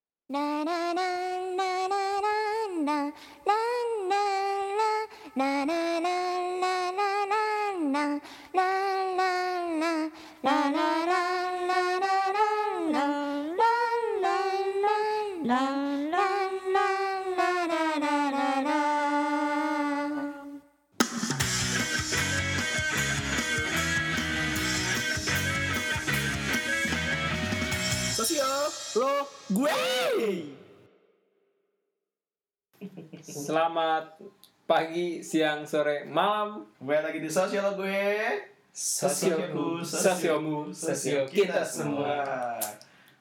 Na na na na na na na na na na na na na na na na na na na la la la la la la la la la la la la la la la la la la Sosial lo gue. Selamat pagi, siang, sore, malam. Kembali lagi di sosial lo gue. Sosioku, sosiomu, sosio kita semua.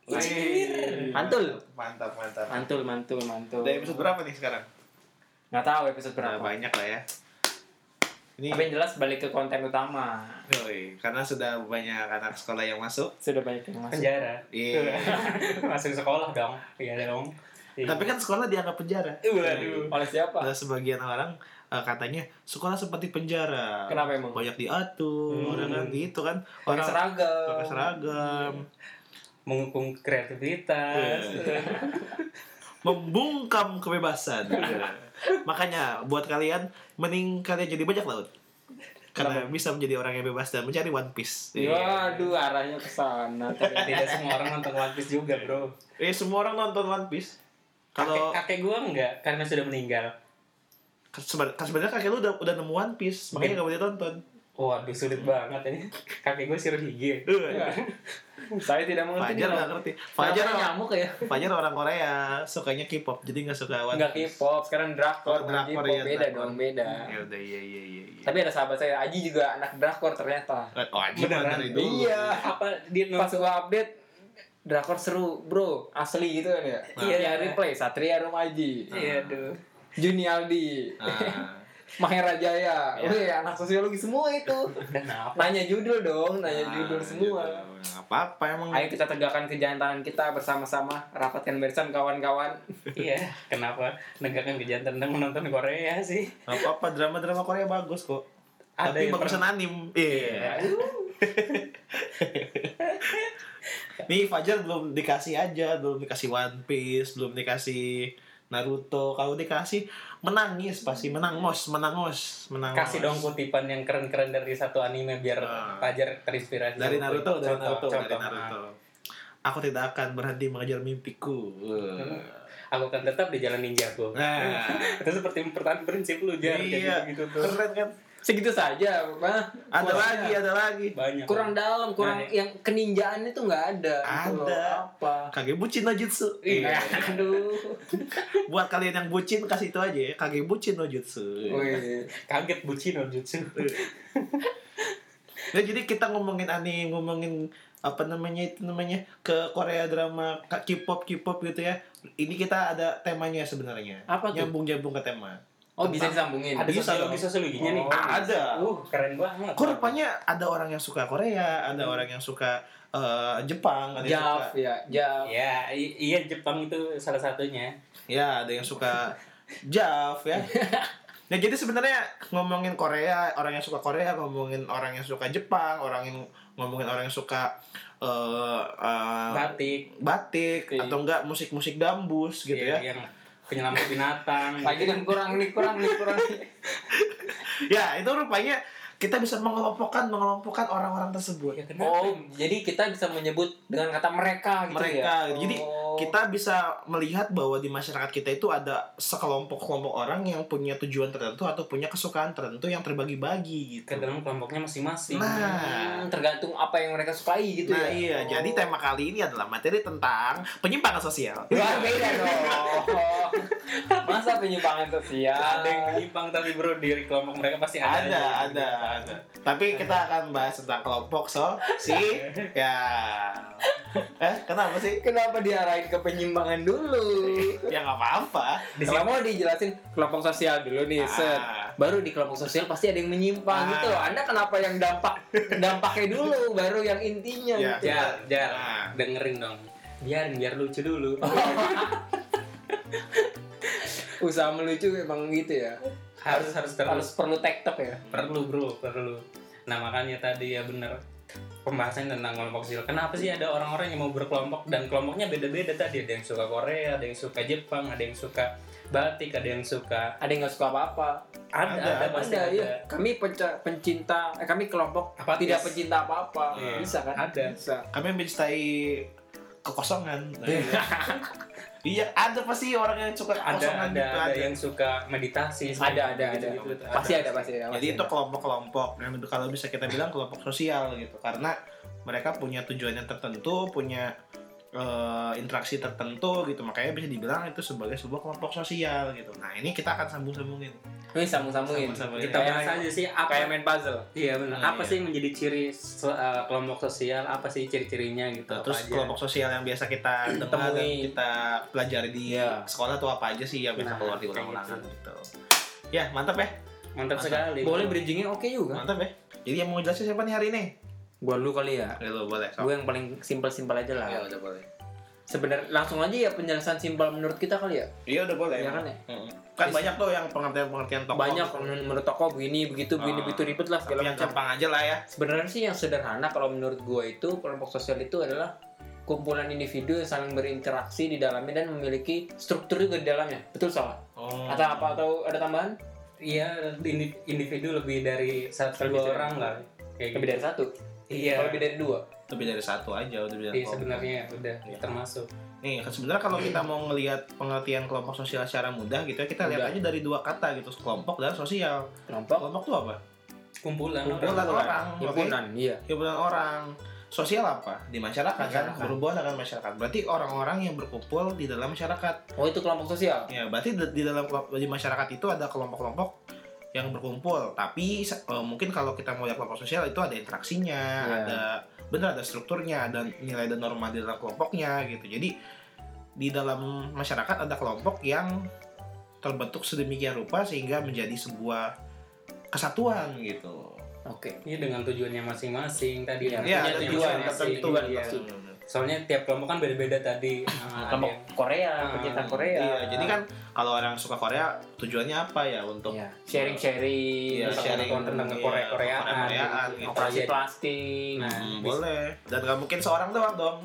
Wih. Mantul. Mantap, mantap. Mantul, mantul, mantul. Udah episode berapa nih sekarang? Nggak tahu episode Nah, berapa. banyak lah ya. Ini Tapi yang jelas balik ke konten utama. Yoi, karena sudah banyak anak sekolah yang masuk. Sudah banyak yang masuk. penjara Iya. masuk sekolah dong iya dong Iya. Tapi kan sekolah dianggap penjara. Iya. waduh Oleh siapa? Ada sebagian orang eh, katanya sekolah seperti penjara. Kenapa emang? Banyak diatur, Hmm. kan gitu kan. Pakai seragam. pakai seragam, mengukung kreativitas Iya. membungkam kebebasan. Makanya buat kalian mending kalian jadi bajak laut. Karena bisa menjadi orang yang bebas dan mencari one piece. Waduh, arahnya ke sana. ternyata. tidak semua orang nonton One Piece juga bro Eh semua orang nonton one piece. Kalau kakek kakek gue enggak karena sudah meninggal seben- sebenarnya kakek lu udah, udah nemu one piece, makanya gak boleh tonton. waduh sulit banget ini kakek gue sirih gigi Eh, Saya tidak mengerti. Fajar nih, nggak Rob. ngerti. Kenapa Fajar orang, nyamuk ya? Fajar orang Korea, sukanya K-pop, jadi nggak suka one. Enggak K-pop, sekarang drakor, Oh, bukan drakor, K-pop. iya, beda drakor. dong, beda. Ya udah iya iya iya. iya. Tapi ada sahabat saya, Aji juga anak drakor ternyata. Oh, anjing Beneran? dari dulu. Iya. apa dia pas nonton gua update drakor seru bro asli gitu kan ya Iya. iya replay Satria Rumaji iya aduh Juni Aldi Ah. Mahera Jaya Iya. wih anak sosiologi semua itu kenapa nanya judul dong nanya Ah, judul semua judul. Nggak apa-apa emang. ayo kita tegakkan kejantanan kita bersama-sama rapatkan barisan kawan-kawan iya kenapa negakkan kejantan dan menonton Korea sih Gak apa-apa, drama-drama Korea bagus kok. Ada Tapi yang bagusan anim. Iya. Iya. Nih Fajar belum dikasih aja, belum dikasih One Piece, belum dikasih Naruto. Kalau dikasih menangis pasti menangos, menangos, menangos. kasih dong kutipan yang keren-keren dari satu anime biar Ah. Fajar terinspirasi dari Naruto, dari Contoh, Naruto, dari contoh. Naruto. Aku tidak akan berhenti mengejar mimpiku. Hmm. aku akan tetap di jalan ninjaku Nah, itu seperti mempertahankan prinsip lu jar iya, gitu tuh keren kan? segitu saja mah Ada lagi, ada lagi. banyak kurang dalam kurang Nah, yang keninjaan itu nggak iya. ada gitu loh. Ada. apa Kagebuchi no Jutsu. Iya, aduh. Buat kalian yang bucin kasih itu aja ya, Kagebuchi no Jutsu. Wih. kaget bucin no Eh, jutsu Ya jadi kita ngomongin anime, ngomongin apa namanya itu namanya ke Korea drama K- K-pop K-pop gitu ya. Ini kita ada temanya sebenarnya. Apa tuh? Nyambung-nyambung ke tema. Oh, bisa disambungin. ada Bisa sosiologi dong. sosiologinya nih Oh, iya, ada. uh keren banget Kok rupanya ada orang yang suka Korea, ada Hmm. orang yang suka eh, Jepang, ada yang Jaf suka ya, Jaf. ya i- iya Jepang itu salah satunya ya, ada yang suka Jav ya. Nah jadi sebenarnya ngomongin Korea, orang yang suka Korea, ngomongin orang yang suka Jepang, orang yang ngomongin orang yang suka eh eh, batik batik Iya. atau enggak musik-musik gambus gitu ya. yang penyelamat binatang Lagi kan kurang nih, kurang nih, kurang nih. Ya, itu rupanya kita bisa mengelompokkan mengelompokkan orang-orang tersebut. ya kenapa Oh, jadi kita bisa menyebut dengan kata mereka gitu Mereka. ya. Jadi Oh. Kita bisa melihat bahwa di masyarakat kita itu ada sekelompok-kelompok orang yang punya tujuan tertentu atau punya kesukaan tertentu yang terbagi-bagi gitu. ke dalam kelompoknya masing-masing Nah, Hmm, tergantung apa yang mereka sukai gitu nah ya. iya, Oh. jadi tema kali ini adalah materi tentang penyimpangan sosial. Oh. Wah, beda dong. Masa penyimpangan sosial? ada yang menyimpang tapi bro di kelompok mereka pasti ada Ada, aja. ada, ada. Tapi kita akan bahas tentang kelompok so si ya. Eh, kenapa sih? Kenapa diarahin ke penyimpangan dulu? Ya nggak apa-apa. Kalau mau dijelasin kelompok sosial dulu nih, set. Ah. Baru di kelompok sosial pasti ada yang menyimpang Ah. gitu loh. Anda kenapa yang dampak dampaknya dulu, baru yang intinya Ya. gitu. Jar, jar, Nah. Oh. dengerin dong. Biarin, biar lucu dulu. Usaha melucu emang gitu ya. harus harus terus Harus perlu tektok ya. perlu bro, perlu. Nah makanya tadi ya bener pembahasan tentang kelompok kecil. Kenapa sih ada orang-orang yang mau berkelompok dan kelompoknya beda-beda tadi? Ada yang suka Korea, ada yang suka Jepang, ada yang suka batik, ada yang suka Ada yang nggak suka apa-apa. ada, Ada, ada, pasti Ada, ada. iya. Kami penca- pencinta, eh, kami kelompok Apatis. tidak pencinta apa-apa. Iya. Bisa kan? Ada. Bisa. Kami mencintai kekosongan. Nah, iya. Iya, ada pasti orang yang suka Ada, kekosongan ada, gitu, ada yang suka meditasi. gitu, Ada, ada, ada. gitu-gitu. Pasti ada, pasti ada. Jadi pasti itu ada. kelompok-kelompok. Nah, kalau bisa kita bilang kelompok sosial gitu, karena mereka punya tujuannya tertentu, punya eh, interaksi tertentu gitu. Makanya bisa dibilang itu sebagai sebuah kelompok sosial gitu. Nah, ini kita akan sambung-sambungin. Ini sambung-sambungin. Sambung-sambungin. Kita Kayak- bahas aja sih apa Kayak main puzzle. Iya benar. Nah, apa iya. sih yang menjadi ciri so- uh, kelompok sosial? Apa sih ciri-cirinya gitu? Nah, terus apa aja? kelompok sosial yang biasa kita dengar dan Temui. kita pelajari di Iya. sekolah tuh apa aja sih yang bisa Nah, keluar di kayak ulang-ulangan gitu. Ya, mantap ya. mantap Mantap. sekali. Boleh bridgingnya oke juga. Mantap ya. Jadi yang mau jelasin siapa nih hari ini? Gua lu kali ya. Ya, lo boleh. sok. Gue yang paling simpel-simpel aja lah. Ya, udah boleh. Sebenarnya langsung aja ya penjelasan simpel menurut kita kali ya. Iya, udah boleh. Iya kan ya? Mm-mm. Kan banyak tuh yang pengertian-pengertian tokoh. Banyak menurut toko begini begitu begini Ah. begitu ribet lah Tapi segala yang macam. gampang aja lah ya. Sebenarnya sih yang sederhana kalau menurut gua itu kelompok sosial itu adalah kumpulan individu yang saling berinteraksi di dalamnya dan memiliki struktur juga di dalamnya. Betul salah? Oh. Atau apa atau ada tambahan? Iya, indi- individu lebih dari satu Lebih dua dari- orang lah. Kayak gitu. Lebih dari satu. Iya. Kalau lebih dari dua. Lebih dari satu aja udah bilang. Iya kelompok. sebenarnya udah Iya. termasuk. Nih, kan sebenarnya kalau kita mau ngelihat pengertian kelompok sosial secara mudah gitu ya, kita lihat Mudah. aja dari dua kata gitu, kelompok dan sosial. Kelompok Kelompok tuh apa? Kumpulan, Kumpulan orang. orang. oke? himpunan, iya. Himpunan orang. Sosial apa? Di masyarakat, kan, Masyarakat. berhubungan dengan masyarakat. Berarti orang-orang yang berkumpul di dalam masyarakat. Oh, itu kelompok sosial. Ya, berarti di di dalam kelomp- di masyarakat itu ada kelompok-kelompok yang berkumpul. Tapi se- eh, mungkin kalau kita mau lihat kelompok sosial itu ada interaksinya, Iya. ada bener ada strukturnya, ada nilai dan norma di dalam kelompoknya gitu. Jadi di dalam masyarakat ada kelompok yang terbentuk sedemikian rupa sehingga menjadi sebuah kesatuan gitu. Oke. Iya dengan tujuannya masing-masing tadi. Iya, Punya Iya, ada tujuan tujuan masing-masing. tertentu. tujuan Iya. pasti. Soalnya tiap kelompok kan beda-beda tadi. Nah, Kelompok ada Korea, Ah, pencinta Korea. Iya, jadi kan kalau orang suka Korea tujuannya apa ya untuk Iya. sharing-sharing, Iya, tentang sharing pengetahuan tentang iya, Korea, Korea-Koreaan, Korea-Koreaan gitu. gitu. operasi Iya. plastik. Nah, Hmm, boleh. Dan nggak mungkin seorang doang dong.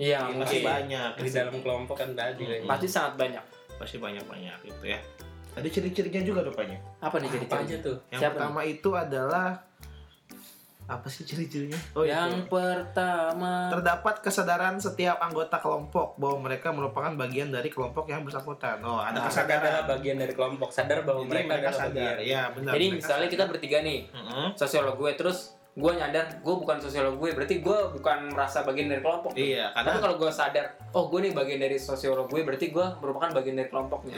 Iya, Iya, mungkin. Pasti Oke. banyak. di dalam kelompok kan tadi. Hmm. Pasti sangat banyak. Pasti banyak-banyak gitu ya. Ada ciri-cirinya juga ya? rupanya. Apa nih Apa ciri-cirinya? aja tuh? Yang Siapa pertama itu adalah apa sih ciri-cirinya? Oh, Yang itu. pertama terdapat kesadaran setiap anggota kelompok bahwa mereka merupakan bagian dari kelompok yang bersangkutan. Oh, ada Nah, sadar adalah kesadaran. bagian dari kelompok. Sadar bahwa Jadi mereka, mereka adalah sadar. bagian. Ya, benar. Jadi mereka misalnya kita sadar. bertiga nih, Mm-mm. sosiolog gue terus gue nyadar gue bukan sosiolog gue, berarti gue bukan merasa bagian dari kelompok. Iya, karena Tapi kalau gue sadar, oh gue nih bagian dari sosiolog gue, berarti gue merupakan bagian dari kelompoknya.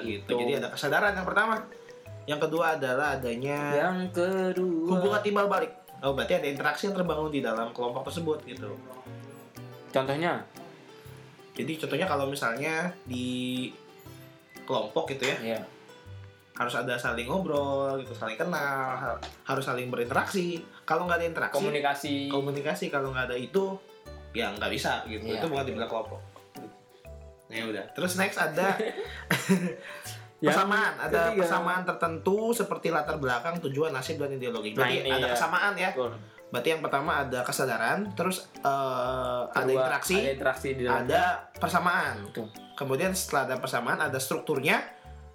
Oh, gitu. Jadi ada kesadaran yang pertama. Yang kedua adalah adanya Yang kedua hubungan timbal balik. Oh berarti ada interaksi yang terbangun di dalam kelompok tersebut gitu. Contohnya Jadi contohnya kalau misalnya di kelompok gitu ya Iya harus ada saling ngobrol gitu, saling kenal, har- harus saling berinteraksi. Kalau nggak ada interaksi, Komunikasi komunikasi kalau nggak ada itu ya nggak bisa gitu. Iya. Itu bukan dibilang kelompok. Nah, ya udah. Terus next ada persamaan ada Ya, ketiga. persamaan tertentu seperti latar belakang tujuan nasib dan ideologi Nah, berarti ini ada ya. kesamaan ya Betul. berarti yang pertama ada kesadaran terus eh, ada Kedua, interaksi Ada interaksi di Iya. dalam ada persamaan Betul. kemudian setelah ada persamaan ada strukturnya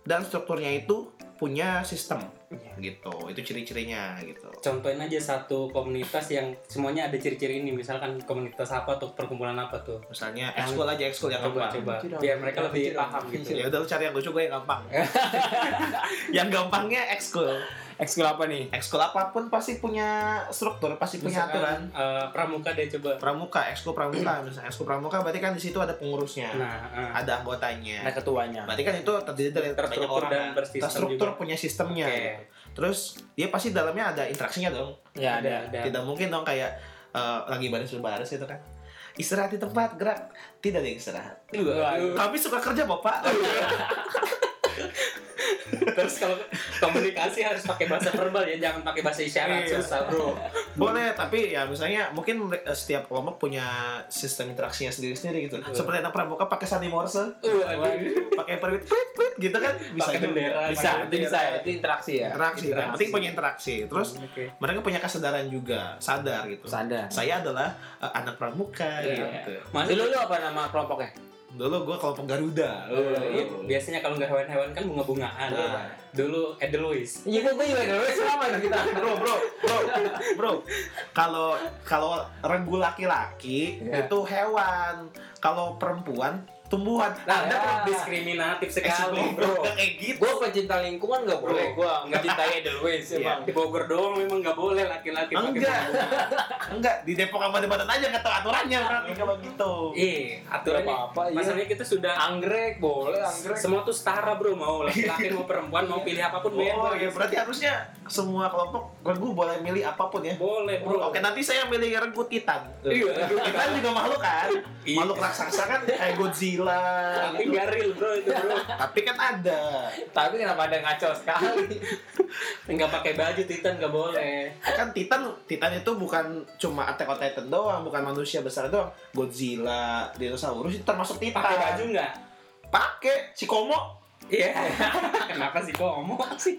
dan strukturnya itu punya sistem Iya. gitu itu ciri-cirinya gitu Contohin aja satu komunitas yang semuanya ada ciri-ciri ini. Misalkan komunitas apa tuh, perkumpulan apa tuh. misalnya Yang- ekskul aja ekskul yang Coba, gampang coba. Lucu dong. Biar mereka Lucu lebih dong. paham gitu. ya udah lu cari yang lucu gue yang gampang yang gampangnya ekskul Ekskul apa nih? ekskul apapun pasti punya struktur pasti punya Misalkan, aturan eh, pramuka deh coba. pramuka, eksko pramuka, misalnya eksko pramuka berarti kan di situ ada pengurusnya, Nah, eh. ada Ada anggotanya. ketuanya Berarti kan itu terdiri dari Terstruktur banyak orang. dan kan? bersistem Terstruktur juga. punya sistemnya. Oke. gitu. Terus dia pasti dalamnya ada interaksinya dong. Ya ada Tidak mungkin dong kayak eh, lagi baris berbaris gitu kan. Istirahat di tempat, gerak. Tidak ada yang istirahat. Waduh. Kami suka kerja, Bapak. Terus kalau komunikasi harus pakai bahasa verbal ya, jangan pakai bahasa isyarat Iya. susah bro. Boleh, tapi ya misalnya mungkin mere- eh, setiap kelompok punya sistem interaksinya sendiri-sendiri gitu. Seperti anak pramuka pakai sandi morse, Waduh. pakai perwit perit perit gitu kan bisa Pakai juga. bendera, Pakai bisa itu bendera. bisa itu interaksi ya Interaksi, yang Interaksi. penting punya interaksi. Terus Oke. mereka punya kesadaran juga, sadar gitu. sadar Saya adalah eh, anak pramuka Iya. gitu. Masih dulu lu apa nama kelompoknya Dulu gue kelompok Garuda. Eh, iya. Gitu. biasanya kalau nggak hewan-hewan kan bunga-bungaan. Nah. Dulu Edelweiss. iya gue juga dulu selama itu kita bro bro bro bro kalau kalau regu laki-laki Iya. itu hewan kalau perempuan tumbuhan Nah, Ya. Anda Eh, diskriminatif sekali. sebelum bro. nggak kayak gitu gue pecinta lingkungan gak boleh gue mencintai Edelweiss Iya. emang Di Bogor doang memang nggak boleh laki-laki pakai enggak enggak di Depok sama di Banten aja nggak tahu aturannya berarti kalau gitu Iya, aturannya. Apa-apa, iya. Masalahnya kita sudah anggrek boleh anggrek semua tuh setara bro mau laki-laki mau perempuan mau pilih apapun oh bebas. ya berarti harusnya semua kelompok regu boleh milih apapun ya boleh Iya, bro. Bro, oke nanti saya milih regu Titan. Iya. Titan juga makhluk kan, Iya. makhluk raksasa kan kayak Godzilla. Tapi gitu. nggak real bro itu bro. Tapi kan ada, tapi kenapa ada ngaco sekali Nggak pakai baju Titan nggak boleh. kan Titan Titan itu bukan cuma Attack on Titan doang bukan manusia besar doang Godzilla dinosaurus itu termasuk Titan Pakai baju nggak? pakai si Komo Iya. Kenapa sih kok ngomong sih?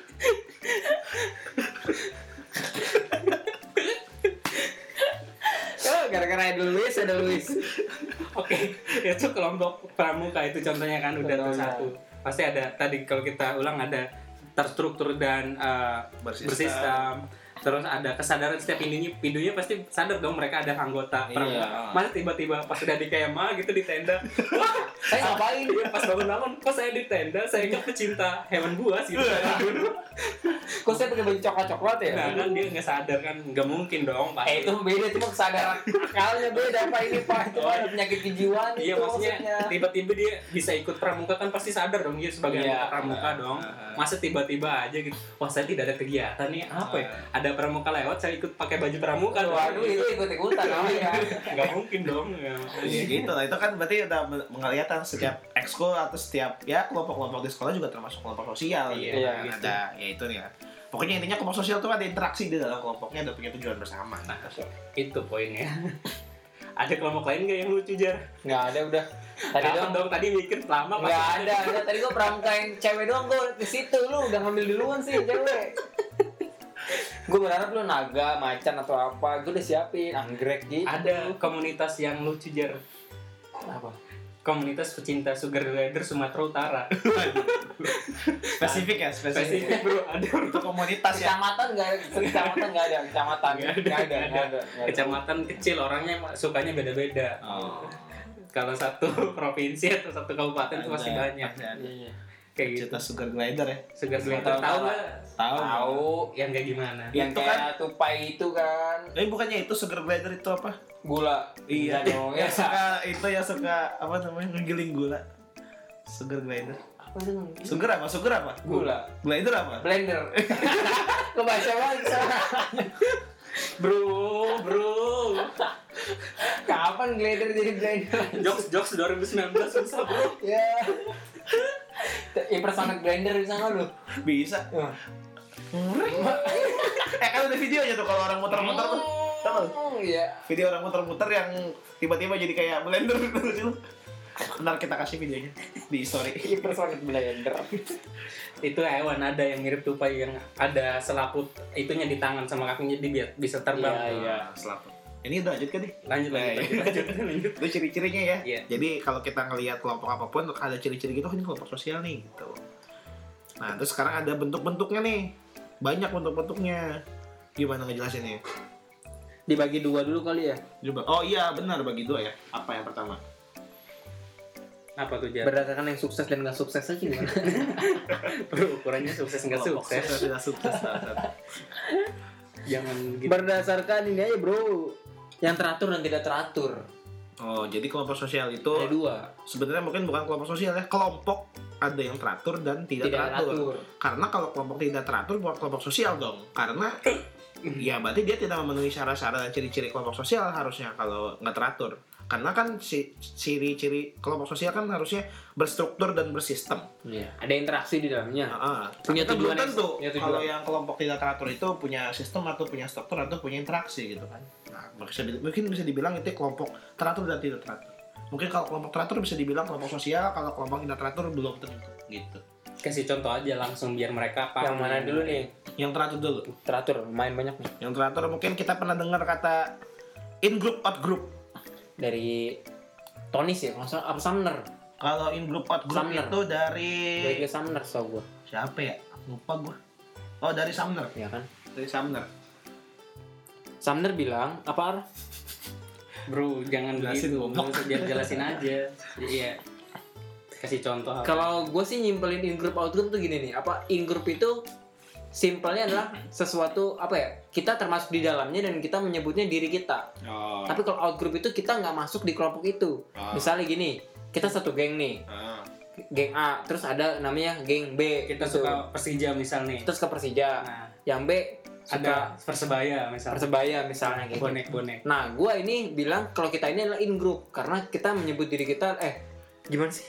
Oh, gara-gara Edelweiss Edelweiss Oke, ya, itu kelompok pramuka itu contohnya kan udah tuh Contohnya. satu. Pasti ada tadi kalau kita ulang ada terstruktur dan eh, Bersistem. bersistem. Terus ada kesadaran setiap individunya, individunya pasti sadar dong mereka ada anggota Iya. pramuka. Masa tiba-tiba pas udah di kema gitu di tenda, wah saya ngapain pas bangun-bangun, kok saya di tenda, saya kan pecinta hewan buas gitu. kok saya pakai baju coklat-coklat ya Nah kan dia nggak sadar kan, nggak mungkin dong pasti. Eh itu beda cuma kesadaran akalnya beda apa ini pak itu Oh, Pak, iya. ada penyakit kejiwaan Iya kan itu maksudnya tiba-tiba dia bisa ikut pramuka kan pasti sadar dong dia sebagai Iya. Nah. anggota pramuka dong. Ah. Masa tiba-tiba aja gitu. Wah saya tidak ada kegiatan nih apa ya? Ada pramuka lewat saya ikut pakai baju pramuka. dong. Nah. waduh itu ikut ikutan namanya nggak mungkin dong. nggak mungkin. Iya, ya gitu lah itu kan berarti udah men- mengelihatan setiap ekskul atau setiap ya kelompok-kelompok di sekolah juga termasuk kelompok sosial gitu Iya, kan. gitu. ada ya itu nih lah. pokoknya intinya kelompok sosial tuh ada interaksi di dalam kelompoknya ada punya tujuan bersama gitu. Itu poinnya. ada kelompok lain nggak yang lucu jar? nggak ada udah tadi Kapan dong dong tadi mikir lama pas- nggak ada ada tadi gua pramukain cewek doang gua ke situ lu udah ngambil duluan sih cewek gua berharap lu naga macan atau apa gua udah siapin anggrek gitu Ada komunitas yang lucu jar. apa Komunitas pecinta sugar glider Sumatera Utara. spesifik ya spesifik Spesifik bro ada itu komunitas ya kecamatan nggak ada kecamatan nggak ada kecamatan Nggak nggak ada, ada nggak ada, nggak nggak ada. kecamatan kecil orangnya sukanya beda-beda. oh, kalau satu provinsi atau satu kabupaten itu pasti ada, banyak pasti ada. Iya, iya. kayak gitu cerita sugar glider ya segar segar Tahu tahu nggak? nggak tahu tahu yang kayak gimana Iya. yang Itu kayak tupai itu kan eh bukannya itu sugar glider itu apa gula Iya. dong ya yang suka itu yang suka apa namanya ngegiling gula sugar glider apa sih namanya? sugar apa sugar apa gula glider apa blender kebaca baca bro bro kapan blender jadi blender jokes jokes 2019 susah bro ya impersonate blender di sana lu bisa Ngeri. eh kan ada videonya tuh kalau orang muter-muter tuh Tahu? ya video orang muter-muter yang tiba-tiba jadi kayak blender gitu Ntar kita kasih videonya di story impersonate blender itu hewan ada yang mirip tupai yang ada selaput itunya di tangan sama kakinya dia biar bisa terbang Iya, iya. selamat ini udah lanjut kan nih lanjut lanjut lanjut lanjut, lanjut. itu ciri-cirinya ya Iya. jadi kalau kita ngelihat kelompok apapun ada ciri-ciri gitu "Oh, ini kelompok sosial nih gitu nah terus sekarang ada bentuk-bentuknya nih banyak bentuk-bentuknya gimana ngejelasinnya dibagi dua dulu kali ya Coba. Oh iya benar bagi dua ya. Apa yang pertama? apa tuh jar berdasarkan yang sukses dan nggak sukses aja gimana bro ukurannya sukses nggak Kelompok sukses sosial tidak sukses. salah satu. jangan gitu berdasarkan ini aja bro yang teratur dan tidak teratur oh jadi kelompok sosial Oh. itu ada dua sebenarnya mungkin bukan kelompok sosial ya kelompok ada yang teratur dan tidak, tidak teratur. teratur Karena kalau kelompok tidak teratur bukan kelompok sosial dong. Karena ya berarti dia tidak memenuhi syarat-syarat dan ciri-ciri kelompok sosial harusnya kalau nggak teratur. karena kan si ciri-ciri kelompok sosial kan harusnya berstruktur dan bersistem Iya. Ada interaksi di dalamnya. Ah, ah. Nah, Punya Tapi tujuan belum tentu yang- punya tujuan. kalau yang kelompok tidak teratur itu punya sistem atau punya struktur atau punya interaksi gitu kan nah bisa di- mungkin bisa dibilang itu kelompok teratur dan tidak teratur mungkin kalau kelompok teratur bisa dibilang kelompok sosial kalau kelompok tidak teratur belum tentu gitu Kasih contoh aja langsung biar mereka paham. Yang mana dulu nih? yang teratur dulu Teratur lumayan banyak nih yang teratur mungkin kita pernah dengar kata in group out group dari Tonis ya, kalau nggak salah, apa Sumner? kalau in group out group Sumner. itu dari Iya. Dari Sumner tau gue, siapa ya lupa gue oh dari Sumner ya kan? dari Sumner Sumner bilang apa? Ar? Bro, jangan Jelasin, begitu. goblok. Nggak usah, biar jelasin aja. Iya. Kasih contoh. apa. Kalau gue sih nyimpelin in group out group tuh gini nih, apa in group itu simpelnya adalah sesuatu apa ya? Kita termasuk di dalamnya dan kita menyebutnya diri kita. oh, Tapi kalau out group itu kita nggak masuk di kelompok itu. Ah. Misalnya gini, kita satu geng nih, ah. geng A, terus ada namanya geng B. kita gitu. suka Persija misal nih. terus ke Persija, Nah, yang B suka ada Persebaya misal. Persebaya misalnya gitu. Bonek-bonek. Nah, gua ini bilang kalau kita ini adalah in group karena kita menyebut diri kita eh gimana sih?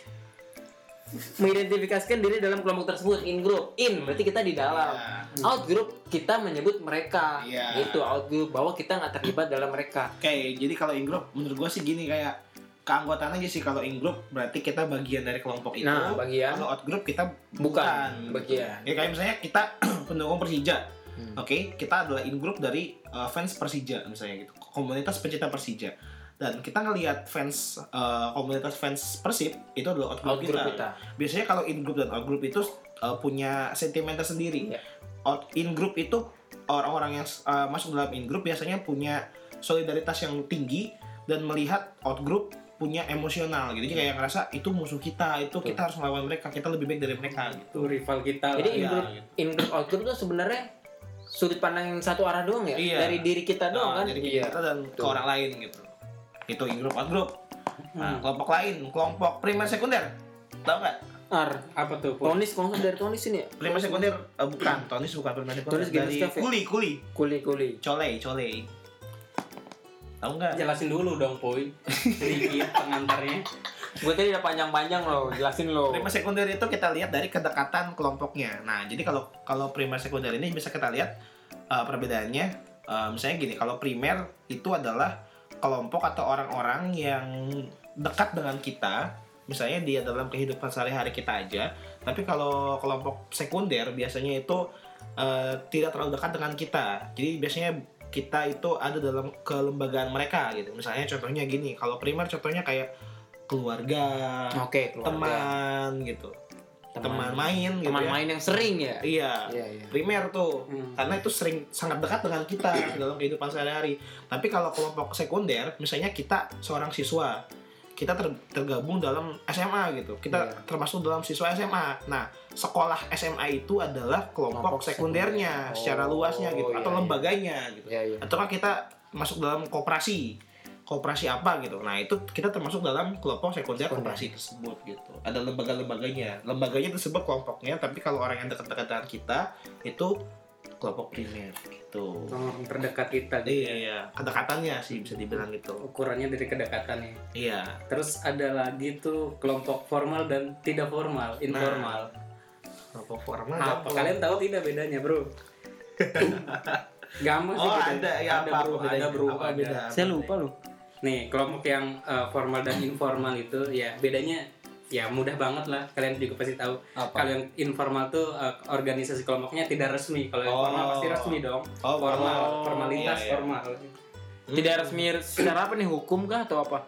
Mengidentifikasikan diri dalam kelompok tersebut in group. In berarti kita di dalam. Iya. Out group kita menyebut mereka. Iya. Gitu out group bahwa kita nggak terlibat dalam mereka. Oke, jadi kalau in group menurut gue sih gini kayak keanggotaan aja sih kalau in group berarti kita bagian dari kelompok itu. Nah, bagian kalau out group kita Bukan, bagian. Ya kayak misalnya kita pendukung Persija. Hmm. Oke, kita adalah in group dari uh, fans Persija misalnya gitu. Komunitas pecinta Persija. Dan kita ngelihat fans uh, komunitas fans Persib itu adalah out group, out group kita. kita. Biasanya kalau in group dan out group itu uh, punya sentimen tersendiri. Iya. Out in group itu orang-orang yang uh, masuk dalam in group biasanya punya solidaritas yang tinggi dan melihat out group punya emosional gitu. Jadi kayak ngerasa itu musuh kita, Iya. Betul. itu kita harus melawan mereka, kita lebih baik dari mereka gitu. Itu rival kita. Jadi in lah, ya, group gitu. in group out group itu sebenarnya sudut pandang yang satu arah doang ya Iya. dari diri kita doang Nah, kan. jadi kayak Iya. kita dan ke Betul. orang lain gitu. Itu in group out group. Hmm. Nah, kelompok lain, kelompok primer sekunder. Tahu nggak? Ar, Apa tuh? Pur? Tonis kalau nggak salah dari Tonis ini ya. Primer sekunder eh, bukan, Tonis bukan primer sekunder. Tonis Gamer Dari Stuff ya? kuli, kuli. Kuli-kuli. Colei, colei. Tahu nggak? Jelasin dulu dong, Puy. Sedikit pengantarnya. Gue tadi udah panjang-panjang loh, jelasin loh. Primer sekunder itu kita lihat dari kedekatan kelompoknya. Nah, jadi kalau kalau primer sekunder ini bisa kita lihat eh, perbedaannya. Eh, misalnya gini, kalau primer itu adalah kelompok atau orang-orang yang dekat dengan kita, misalnya dia dalam kehidupan sehari-hari kita aja. Tapi kalau kelompok sekunder biasanya itu eh, tidak terlalu dekat dengan kita. Jadi biasanya kita itu ada dalam kelembagaan mereka gitu. Misalnya contohnya gini, kalau primer contohnya kayak keluarga, Oke, keluarga. teman gitu teman main gitu teman ya. main yang sering ya. iya Iya, iya. primer tuh Hmm. karena itu sering sangat dekat dengan kita dalam kehidupan sehari-hari tapi kalau kelompok sekunder misalnya kita seorang siswa kita ter- tergabung dalam SMA gitu kita Iya. termasuk dalam siswa SMA nah sekolah SMA itu adalah kelompok, Kelompok sekundernya sekunder. secara luasnya Oh, gitu iya, atau iya. lembaganya gitu Iya, iya. atau kan kita masuk dalam koperasi koperasi apa gitu nah itu kita termasuk dalam kelompok sekunder Sekunder. koperasi tersebut gitu ada lembaga-lembaganya lembaganya tersebut kelompoknya tapi kalau orang yang dekat-dekat dengan kita itu kelompok primer gitu Orang terdekat kita gitu. iya ya. iya kedekatannya sih bisa dibilang Iya. gitu Ukurannya dari kedekatannya. iya Terus ada lagi tuh kelompok formal dan tidak formal, informal. kelompok formal Apa kalian tahu tidak bedanya, Bro? Gampang sih oh bedanya. ada ya ada, apa bro, apa ada, bro, apa ada. beda Saya lupa loh. Nih, kelompok yang eh, formal dan informal itu ya bedanya ya mudah banget lah. Kalian juga pasti tahu. apa Kalau yang informal tuh eh, organisasi kelompoknya tidak resmi. Kalau yang Oh. formal pasti resmi dong. oh Formal, formalitas Iya, iya. formal. Hmm. Tidak resmi secara apa nih hukum kah atau apa?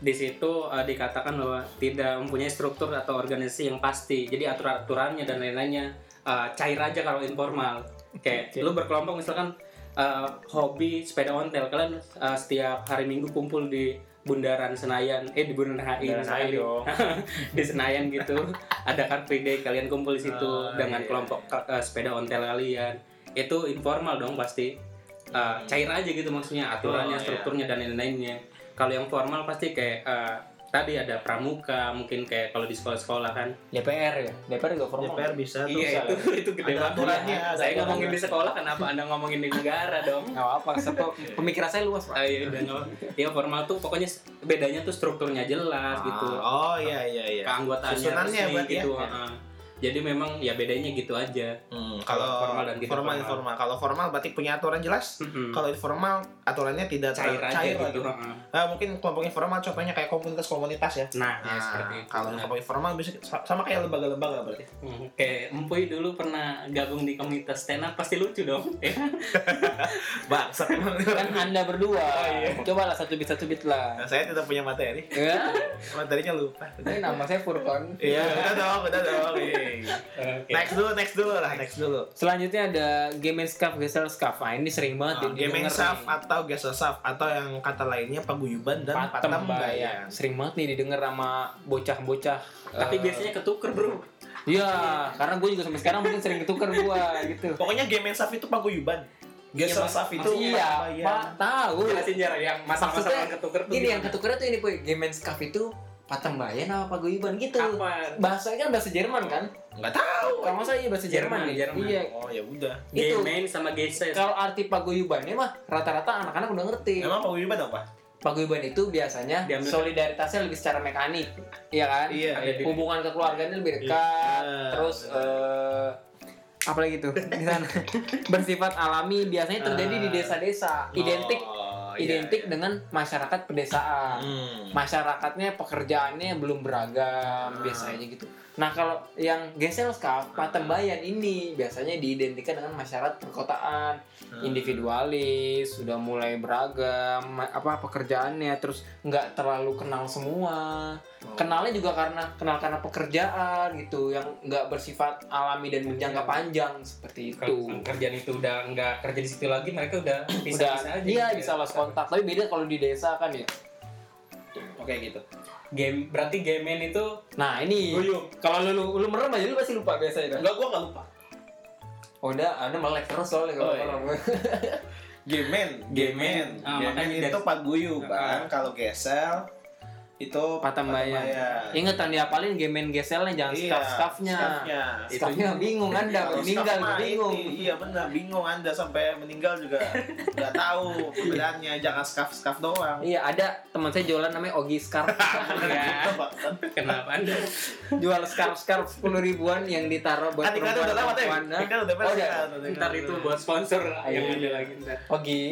Di situ eh, dikatakan bahwa tidak mempunyai struktur atau organisasi yang pasti. Jadi aturan-aturannya dan lain-lainnya eh, cair aja kalau informal. Kayak Oke. lu berkelompok misalkan eh, hobi sepeda ontel kalian eh, setiap hari Minggu kumpul di Bundaran Senayan, eh di Bundaran HI misalkan di- dong. di Senayan gitu ada car free day kalian kumpul di situ Oh, dengan iya. kelompok eh, sepeda ontel kalian itu informal dong pasti Eh, cair aja gitu maksudnya Oh, aturannya iya. strukturnya dan lain-lainnya kalau yang formal pasti kayak eh, tadi ada pramuka mungkin kayak kalau di sekolah-sekolah kan DPR ya DPR juga formal DPR bisa tuh. iya bisa. itu itu Ada gede banget aturannya, ada saya aturannya. ngomongin di sekolah kenapa anda ngomongin di negara dong nggak apa apa pemikiran saya luas pak Ah, iya, udah, nggak apa. Iya, formal tuh pokoknya s- bedanya tuh strukturnya jelas gitu Oh iya iya iya. keanggotaannya Susunannya resmi berarti ya. gitu ah. jadi memang ya bedanya gitu aja Hmm, kalau Formal dan tidak formal formal. informal. Kalau formal berarti punya aturan jelas. Mm-mm. Kalau informal aturannya tidak ter- cair aja gitu. gitu ah. Ah, mungkin kelompok informal contohnya kayak komunitas-komunitas ya. nah, Nah, ya seperti itu kalau Nah, kelompok informal bisa sama kayak lembaga-lembaga berarti. Hmm, Kayak Empuy dulu pernah gabung di komunitas stand up pasti lucu dong. Ya. Eh. Bangsat emang. kan anda berdua coba lah satu bit satu bit lah Nah, saya tidak punya materi. ya Materinya lupa. ini nama saya Furkon Iya, udah dong, udah dong. Iya. Next dulu, next dulu lah, next dulu. selanjutnya ada game and scuff gesel scuff ah, ini sering banget Nah, di- Game didengar Saf nih. atau Gesosaf atau yang kata lainnya paguyuban dan patem bayan patembayan. sering banget nih didengar sama bocah-bocah Tapi Eh, biasanya ketuker, Bro. Iya, karena gue juga sampai sekarang mungkin sering ketuker gue gitu. Pokoknya Game Saf itu paguyuban. Gesosaf itu iya, Pak, tahu. Jelasin jarak yang masa-masa Maksudnya, orang ketuker tuh. gitu. Ini yang gimana? ketuker tuh ini, Puy. Game and Scuff itu Patembayan apa Paguyuban gitu. apa? Bahasanya kan bahasa Jerman kan? Enggak tahu. Kalau nggak salah iya bahasa Jerman, Jerman, nih. Jerman. Iya. Oh, ya udah. Itu. Gemen sama E. geses. Kalau arti paguyubannya mah rata-rata anak-anak udah ngerti. Emang paguyuban apa? Paguyuban itu biasanya Diambil- solidaritasnya lebih secara mekanik, iya kan? Iya, Ada iya. di- Hubungan kekeluarganya lebih dekat. Iya, terus eh apa lagi tuh di sana bersifat alami biasanya terjadi di desa-desa, identik Ah. Oh, iya, identik iya. dengan masyarakat pedesaan. Hmm. masyarakatnya pekerjaannya belum Ah. beragam biasanya gitu. Nah kalau yang gesel skaf patembayan ini biasanya diidentikan dengan masyarakat perkotaan Hmm. individualis sudah mulai beragam ma- apa pekerjaannya terus nggak terlalu kenal semua Hmm. kenalnya juga karena kenal karena pekerjaan gitu yang nggak bersifat alami dan menjangka panjang seperti itu Kalau kerjaan itu udah nggak kerja di situ lagi, mereka udah udah bisa-bisa aja. iya gitu bisa ya. lost kontak tapi beda kalau di desa kan ya Oh, Oke gitu. Game berarti gemen itu nah ini guyup. Kalau lu, lu, lu merem aja lu pasti lupa biasanya kan? Enggak, gua enggak lupa. Oh udah, anda melek terus soalnya kalau Oh, iya. merem. Gemen, Gemen. gemen. Ah, gemen makanya itu dari- paguyuban, kalau gesel itu Patambayan. Ingat kan diapalin gemen geselnya jangan Iya, staff staffnya. staffnya. Staffnya bingung anda Kalau Iya, kalau meninggal staff mah bingung. ini, iya benar, bingung Anda sampai meninggal juga nggak tahu perbedaannya, jangan skaf-skaf doang. Iya ada teman saya jualan namanya Ogi Scarf. Ya. kan. Kenapa Anda? Jual scarf scarf sepuluh ribuan yang ditaruh buat Kan ikan perempuan udah lewat ya? perempuan. Hah? Ikan udah Oh, lewat. udah. Ntar itu buat sponsor Iya, yang ada lagi ntar. Ogi.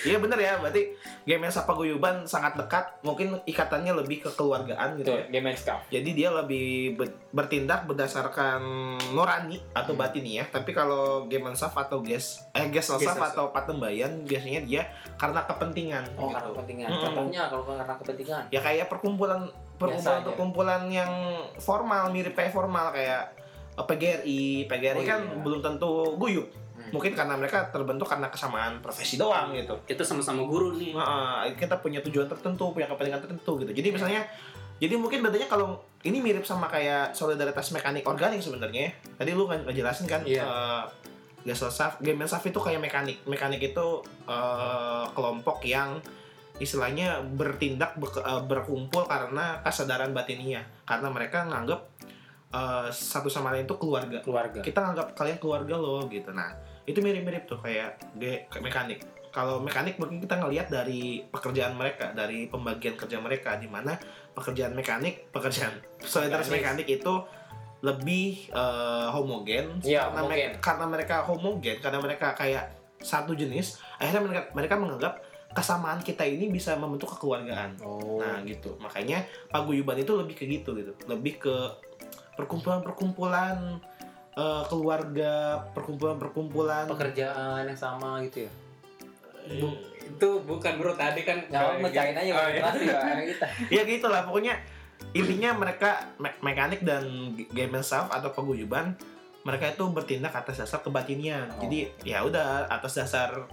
Iya bener ya, berarti game yang Sapa Guyuban sangat dekat, mungkin ikatannya lebih ke keluargaan gitu ya. gemen scarf. Jadi dia lebih be- bertindak berdasarkan nurani atau batiniah, tapi kalau game saf atau ges eh ges saf Geselsaf. atau patembayan biasanya dia karena kepentingan Oh gitu. karena kepentingan. Mm-mm. Contohnya kalau karena kepentingan. Ya kayak perkumpulan Biasa perkumpulan aja. perkumpulan yang formal mirip kayak formal kayak eh, PGRI, PGRI Oh, kan iya. belum tentu guyup. Hmm. Mungkin karena mereka terbentuk karena kesamaan profesi doang gitu. Kita sama-sama guru nih. Nah, eh, kita punya tujuan tertentu, punya kepentingan tertentu gitu. Jadi misalnya, jadi mungkin bedanya kalau ini mirip sama kayak solidaritas mekanik organik sebenarnya. Tadi lu nggak nggak jelasin kan? Iya. eh, Gasol Saf, game Saf itu kayak mekanik. Mekanik itu eh, kelompok yang istilahnya bertindak beke- eh, berkumpul karena kesadaran batinnya. Karena mereka nganggap eh, satu sama lain itu keluarga Keluarga. kita nganggap kalian keluarga lo gitu nah itu mirip-mirip tuh kayak de kayak mekanik kalau mekanik mungkin kita ngelihat dari pekerjaan mereka dari pembagian kerja mereka di mana pekerjaan mekanik pekerjaan solidaritas Mekanis. mekanik itu lebih eh, homogen Iya, karena homogen. mereka karena mereka homogen karena mereka kayak satu jenis akhirnya mereka mereka menganggap kesamaan kita ini bisa membentuk kekeluargaan Oh. Nah gitu, makanya paguyuban itu lebih ke gitu gitu, lebih ke perkumpulan-perkumpulan eh, keluarga, perkumpulan-perkumpulan. Pekerjaan yang sama gitu ya. Bu- itu bukan bro tadi kan Nyawa ya, kayak mecahin gitu. aja Oh, iya. pasti Pak. kita. ya gitulah pokoknya intinya mereka me- mekanik dan g- game and stuff atau paguyuban mereka itu bertindak atas dasar kebatinan. Oh. Jadi ya udah atas dasar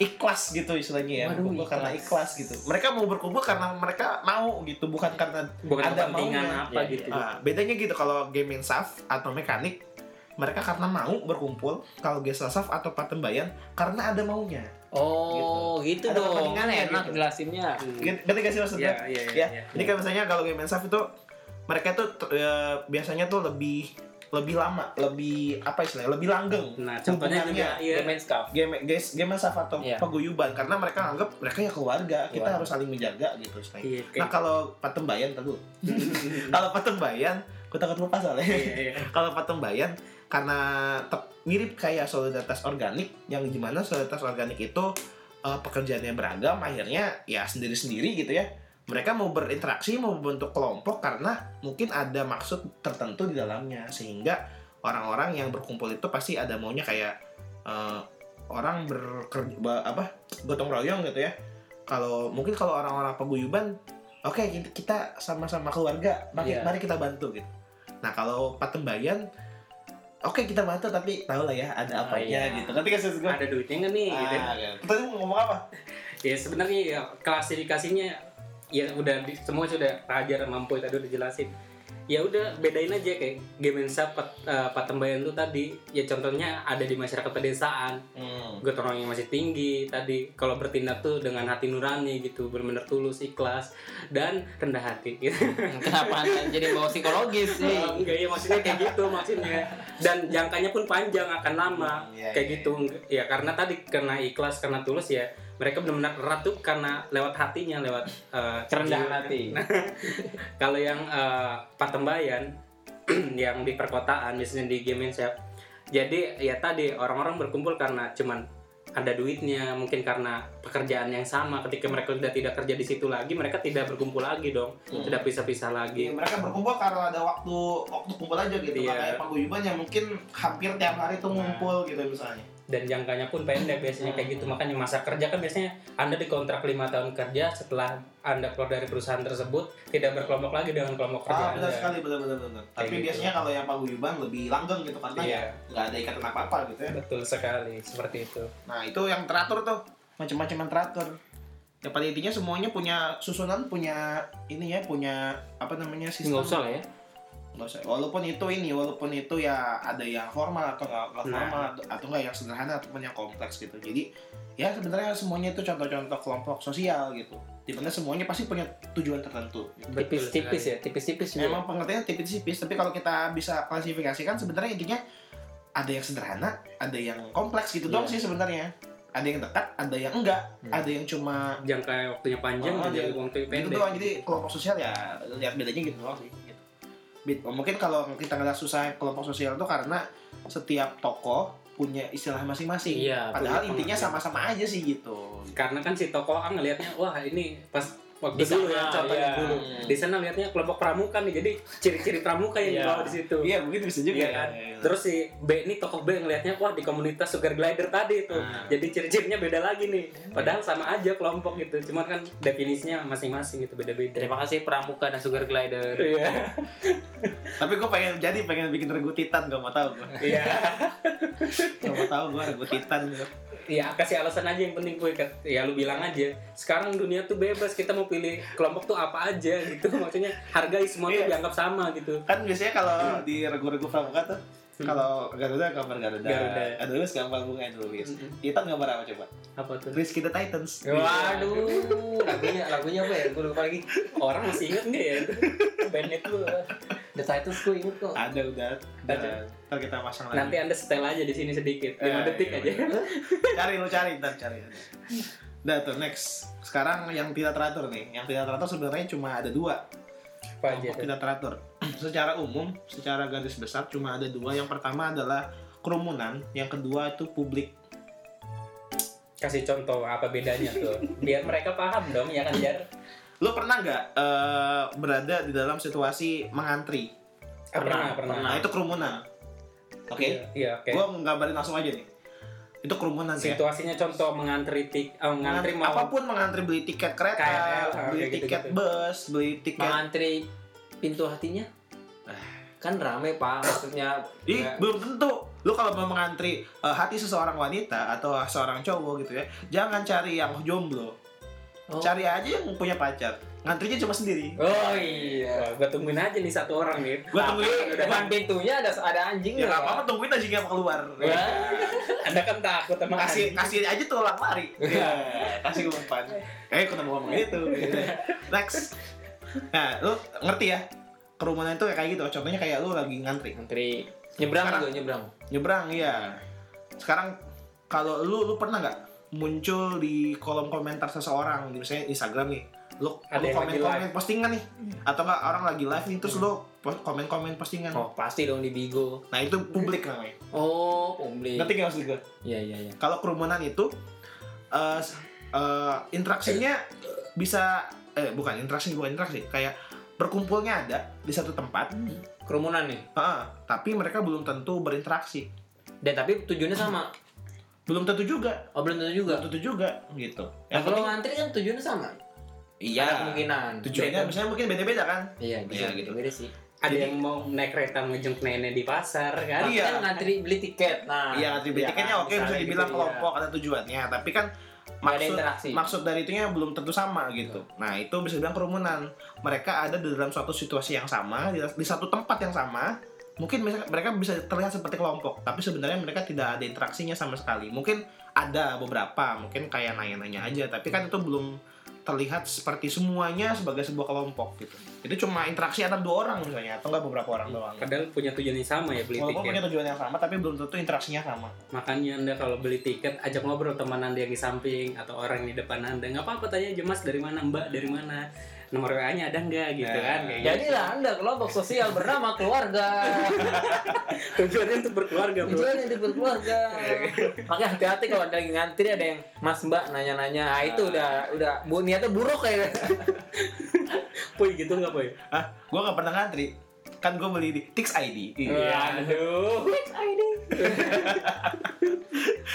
ikhlas gitu istilahnya ya Waduh, berkumpul karena ikhlas gitu mereka mau berkumpul karena mereka mau gitu bukan karena bukan Ada kepentingan maunya. apa Iya, gitu Nah, bedanya gitu kalau game insaf atau mekanik mereka karena mau berkumpul, kalau game saf atau patembayan karena ada maunya. Oh, gitu, Ada dong. Kan kepentingannya enak gitu. jelasinnya. Gitu- Berarti gak sih maksudnya? Iya, iya, iya, Ya. iya. Jadi kayak misalnya kalau game Mensaf itu mereka tuh t- ya, biasanya tuh lebih lebih lama, lebih apa istilahnya? Lebih langgeng. Nah, contohnya juga hubungannya. iya. Domain staff. game guys game Mensaf atau Iya. paguyuban karena mereka anggap mereka ya keluarga, kita Keluarga. harus saling menjaga gitu istilahnya. Iya, Nah, kayak- kalau Patembayan tuh kalau Patembayan, aku takut lupa soalnya. Iya, iya. kalau Patembayan karena tep- mirip kayak solidaritas organik yang gimana solidaritas organik itu eh, pekerjaannya beragam akhirnya ya sendiri-sendiri gitu ya mereka mau berinteraksi mau membentuk kelompok karena mungkin ada maksud tertentu di dalamnya sehingga orang-orang yang berkumpul itu pasti ada maunya kayak eh, orang berkerja ba- apa gotong royong gitu ya kalau mungkin kalau orang-orang paguyuban oke kita- kita sama-sama keluarga mari, Iya. mari kita bantu gitu nah kalau patembayan oke kita bantu tapi tau lah ya ada Ah, apanya iya. gitu nanti kasih gue Ada duitnya nggak nih? gitu. Ah. kita tuh mau ngomong apa Ya sebenarnya ya klasifikasinya ya udah di- semua sudah raja dan mampu tadi udah jelasin. Ya udah bedain aja kayak game Insa Pat, eh, Patembayan tuh tadi. Ya contohnya ada di masyarakat pedesaan, gotong royongnya masih tinggi tadi. Kalau bertindak tuh dengan hati nurani gitu, benar-benar tulus, ikhlas dan rendah hati. Gitu. Kenapa Anda jadi bawa psikologis sih? Iya. Oh, enggak ya maksudnya kayak gitu maksudnya dan jangkanya pun panjang akan lama Hmm, iya, kayak iya. gitu Enggak- ya karena tadi karena ikhlas karena tulus ya mereka benar-benar erat tuh karena lewat hatinya lewat eh, Kerendahan jiwa. hati. kalau yang eh, patembayan yang di perkotaan biasanya di game shop jadi ya tadi orang-orang berkumpul karena cuman ada duitnya mungkin karena pekerjaan yang sama ketika mereka sudah tidak kerja di situ lagi mereka tidak berkumpul lagi dong Hmm. tidak pisah-pisah lagi Iya, mereka berkumpul karena ada waktu waktu kumpul aja gitu Iya. makanya paguyuban yang mungkin hampir tiap hari tuh ngumpul gitu misalnya dan jangkanya pun pendek biasanya kayak gitu makanya masa kerja kan biasanya anda dikontrak lima tahun kerja setelah anda keluar dari perusahaan tersebut tidak berkelompok lagi dengan kelompok kerja ah benar Anda. sekali benar benar benar tapi gitu. biasanya kalau yang paguyuban lebih langgeng gitu karena ya Iya. nggak ada ikatan apa apa gitu ya betul sekali seperti itu nah itu yang teratur tuh macam-macam yang teratur ya pada intinya semuanya punya susunan punya ini ya punya apa namanya sistem Nggak usah lah ya. Nggak usah. Walaupun itu ini, walaupun itu ya ada yang formal atau nggak nggak Nah. formal atau, atau nggak yang sederhana ataupun yang kompleks gitu. Jadi ya sebenarnya semuanya itu contoh-contoh kelompok sosial gitu. Dimana semuanya pasti punya tujuan tertentu. Gitu. Betul Tipis-tipis sekali. ya, tipis-tipis juga. Memang pengertiannya tipis-tipis, tapi kalau kita bisa klasifikasikan sebenarnya intinya ada yang sederhana, ada yang kompleks gitu dong Iya. sih sebenarnya. Ada yang dekat, ada yang enggak, Hmm. ada yang cuma ya? jangka waktunya panjang Oh, dan iya. jangka waktunya pendek gitu doang. Jadi kelompok sosial ya lihat bedanya gitu doang sih. Gitu. Bit- Mungkin kalau kita nggak susah kelompok sosial itu karena setiap tokoh punya istilah masing-masing. Iya, Padahal punya intinya pengertian. sama-sama aja sih gitu. karena kan si toko A ngelihatnya wah ini pas Di waktu dulu sana, ya contohnya iya. dulu di sana lihatnya kelompok pramuka nih jadi ciri-ciri pramuka yang Iya. dibawa di situ Iya, mungkin bisa juga Iya kan? Terus si B ini tokoh B ngelihatnya wah di komunitas sugar glider tadi itu. Ah. Hmm. Jadi ciri-cirinya beda lagi nih. Padahal sama aja kelompok gitu. Cuman kan definisinya masing-masing gitu beda-beda. Terima kasih Pramuka dan Sugar Glider. Iya. Tapi gue pengen jadi pengen bikin regutitan gak mau tahu gue. Iya. Gak mau tahu gue regutitan. gua. Iya, kasih alasan aja yang penting gue Kat. ya lu bilang aja. Sekarang dunia tuh bebas, kita mau pilih kelompok tuh apa aja gitu. Maksudnya hargai semua Iya. tuh dianggap sama gitu. Kan biasanya kalau di regu-regu pramuka tuh kalau Garuda gambar Hmm. Garuda, Garuda. Adulis gambar bunga Adulis. Mm-mm. Kita gambar apa coba? Apa tuh? Risk kita Titans. Waduh, lagunya lagunya apa ya? Gue lupa lagi. Orang masih inget nggak ya? Bandnya tuh. The Titans gue inget kok. Ada udah. Ada. Ada. Ntar kita pasang lagi. Nanti anda setel aja di sini sedikit, 5 Ya, detik iya, aja. bener. cari lu cari ntar cari udah tuh next sekarang yang tidak teratur nih yang tidak teratur sebenarnya cuma ada dua Apa aja? kelompok tuh? tidak teratur secara umum secara garis besar cuma ada dua yang pertama adalah kerumunan yang kedua itu publik kasih contoh apa bedanya tuh biar mereka paham dong ya kan Jar lu pernah nggak eh, berada di dalam situasi mengantri Ah, Pernah, pernah pernah, nah itu kerumunan oke iya oke gua nggambarin langsung aja nih itu kerumunan ya situasinya contoh mengantri tik eh, mengantri mau apapun mengantri beli tiket kereta, KRL, beli kayak tiket gitu-gitu. bus, beli tiket Mengantri pintu hatinya. Kan rame pak, maksudnya. Ih, ya, belum tentu. Lu kalau mau mengantri eh, hati seseorang wanita atau seorang cowok gitu ya, jangan cari yang jomblo. Oh. Cari aja yang punya pacar. ngantrinya cuma sendiri Oh iya. Wah, gua tungguin aja nih satu orang nih. Gua Tapi tungguin. depan pintunya ada ada anjing ya nggak apa-apa tungguin aja nggak mau keluar Iya, Anda kan takut sama kasih anjing. kasih aja tuh orang lari Iya. kasih umpan eh ketemu ngomong itu next nah lu ngerti ya kerumunan itu kayak gitu contohnya kayak lu lagi ngantri Antri nyebrang Sekarang. juga nyebrang. nyebrang ya sekarang kalau lu lu pernah nggak muncul di kolom komentar seseorang di misalnya Instagram nih lu, Ada lu yang komen lagi komen postingan nih atau nggak orang lagi live nih terus lu po- komen komen postingan Oh pasti dong di Bigo. nah itu publik namanya Oh publik. nanti nggak maksud gue Iya iya iya. kalau kerumunan itu eh, s- eh, interaksinya bisa eh bukan interaksi bukan interaksi kayak berkumpulnya ada di satu tempat Kerumunan nih. Heeh, tapi mereka belum tentu berinteraksi Dan tapi tujuannya sama. belum tentu juga Oh belum tentu belum juga. tentu juga gitu Nah, Yang kalau penting- iya. ngantri kan tujuannya sama. Ada kemungkinan. tujuannya Beda. misalnya mungkin beda-beda kan Ya. Iya bisa Iya, gitu. gitu. Beda sih. Ada Jadi- yang mau naik kereta ngejenguk nenek di pasar kan? Iya. Kan ngantri beli tiket. Nah. iya atribut iya tiketnya kan, oke bisa misalnya dibilang gitu, iya. kelompok ada tujuannya tapi kan Nggak ada maksud Iya. interaksi. Iya, maksud dari itunya belum tentu sama gitu nah itu bisa dibilang kerumunan mereka ada di dalam suatu situasi yang sama di, di satu tempat yang sama mungkin mereka, mereka bisa terlihat seperti kelompok tapi sebenarnya mereka tidak ada interaksinya sama sekali mungkin ada beberapa mungkin kayak nanya-nanya aja tapi kan itu belum terlihat seperti semuanya sebagai sebuah kelompok gitu itu cuma interaksi antara dua orang misalnya atau enggak beberapa orang doang Iya, Kadang punya tujuan yang sama ya beli Walaupun punya tiket. tujuan yang sama tapi belum tentu interaksinya sama. Makanya Anda kalau beli tiket ajak ngobrol teman Anda yang di samping atau orang yang di depan Anda. Nggak apa-apa tanya aja Mas dari mana, Mbak dari mana. Nomor WA-nya ada nggak gitu Nah, kan? iya. Kayak gitu. Jadilah anda kelompok sosial bernama keluarga. Tujuannya untuk berkeluarga, Bro. Tujuan yang berkeluarga. Makanya hati-hati kalau ada lagi ngantri ada yang Mas Mbak nanya-nanya. Ah itu udah udah bu niatnya buruk ya. kayak. Puy gitu nggak, Puy? Hah? Gua nggak pernah ngantri. Kan gua beli di Tix ID. Iya. Aduh.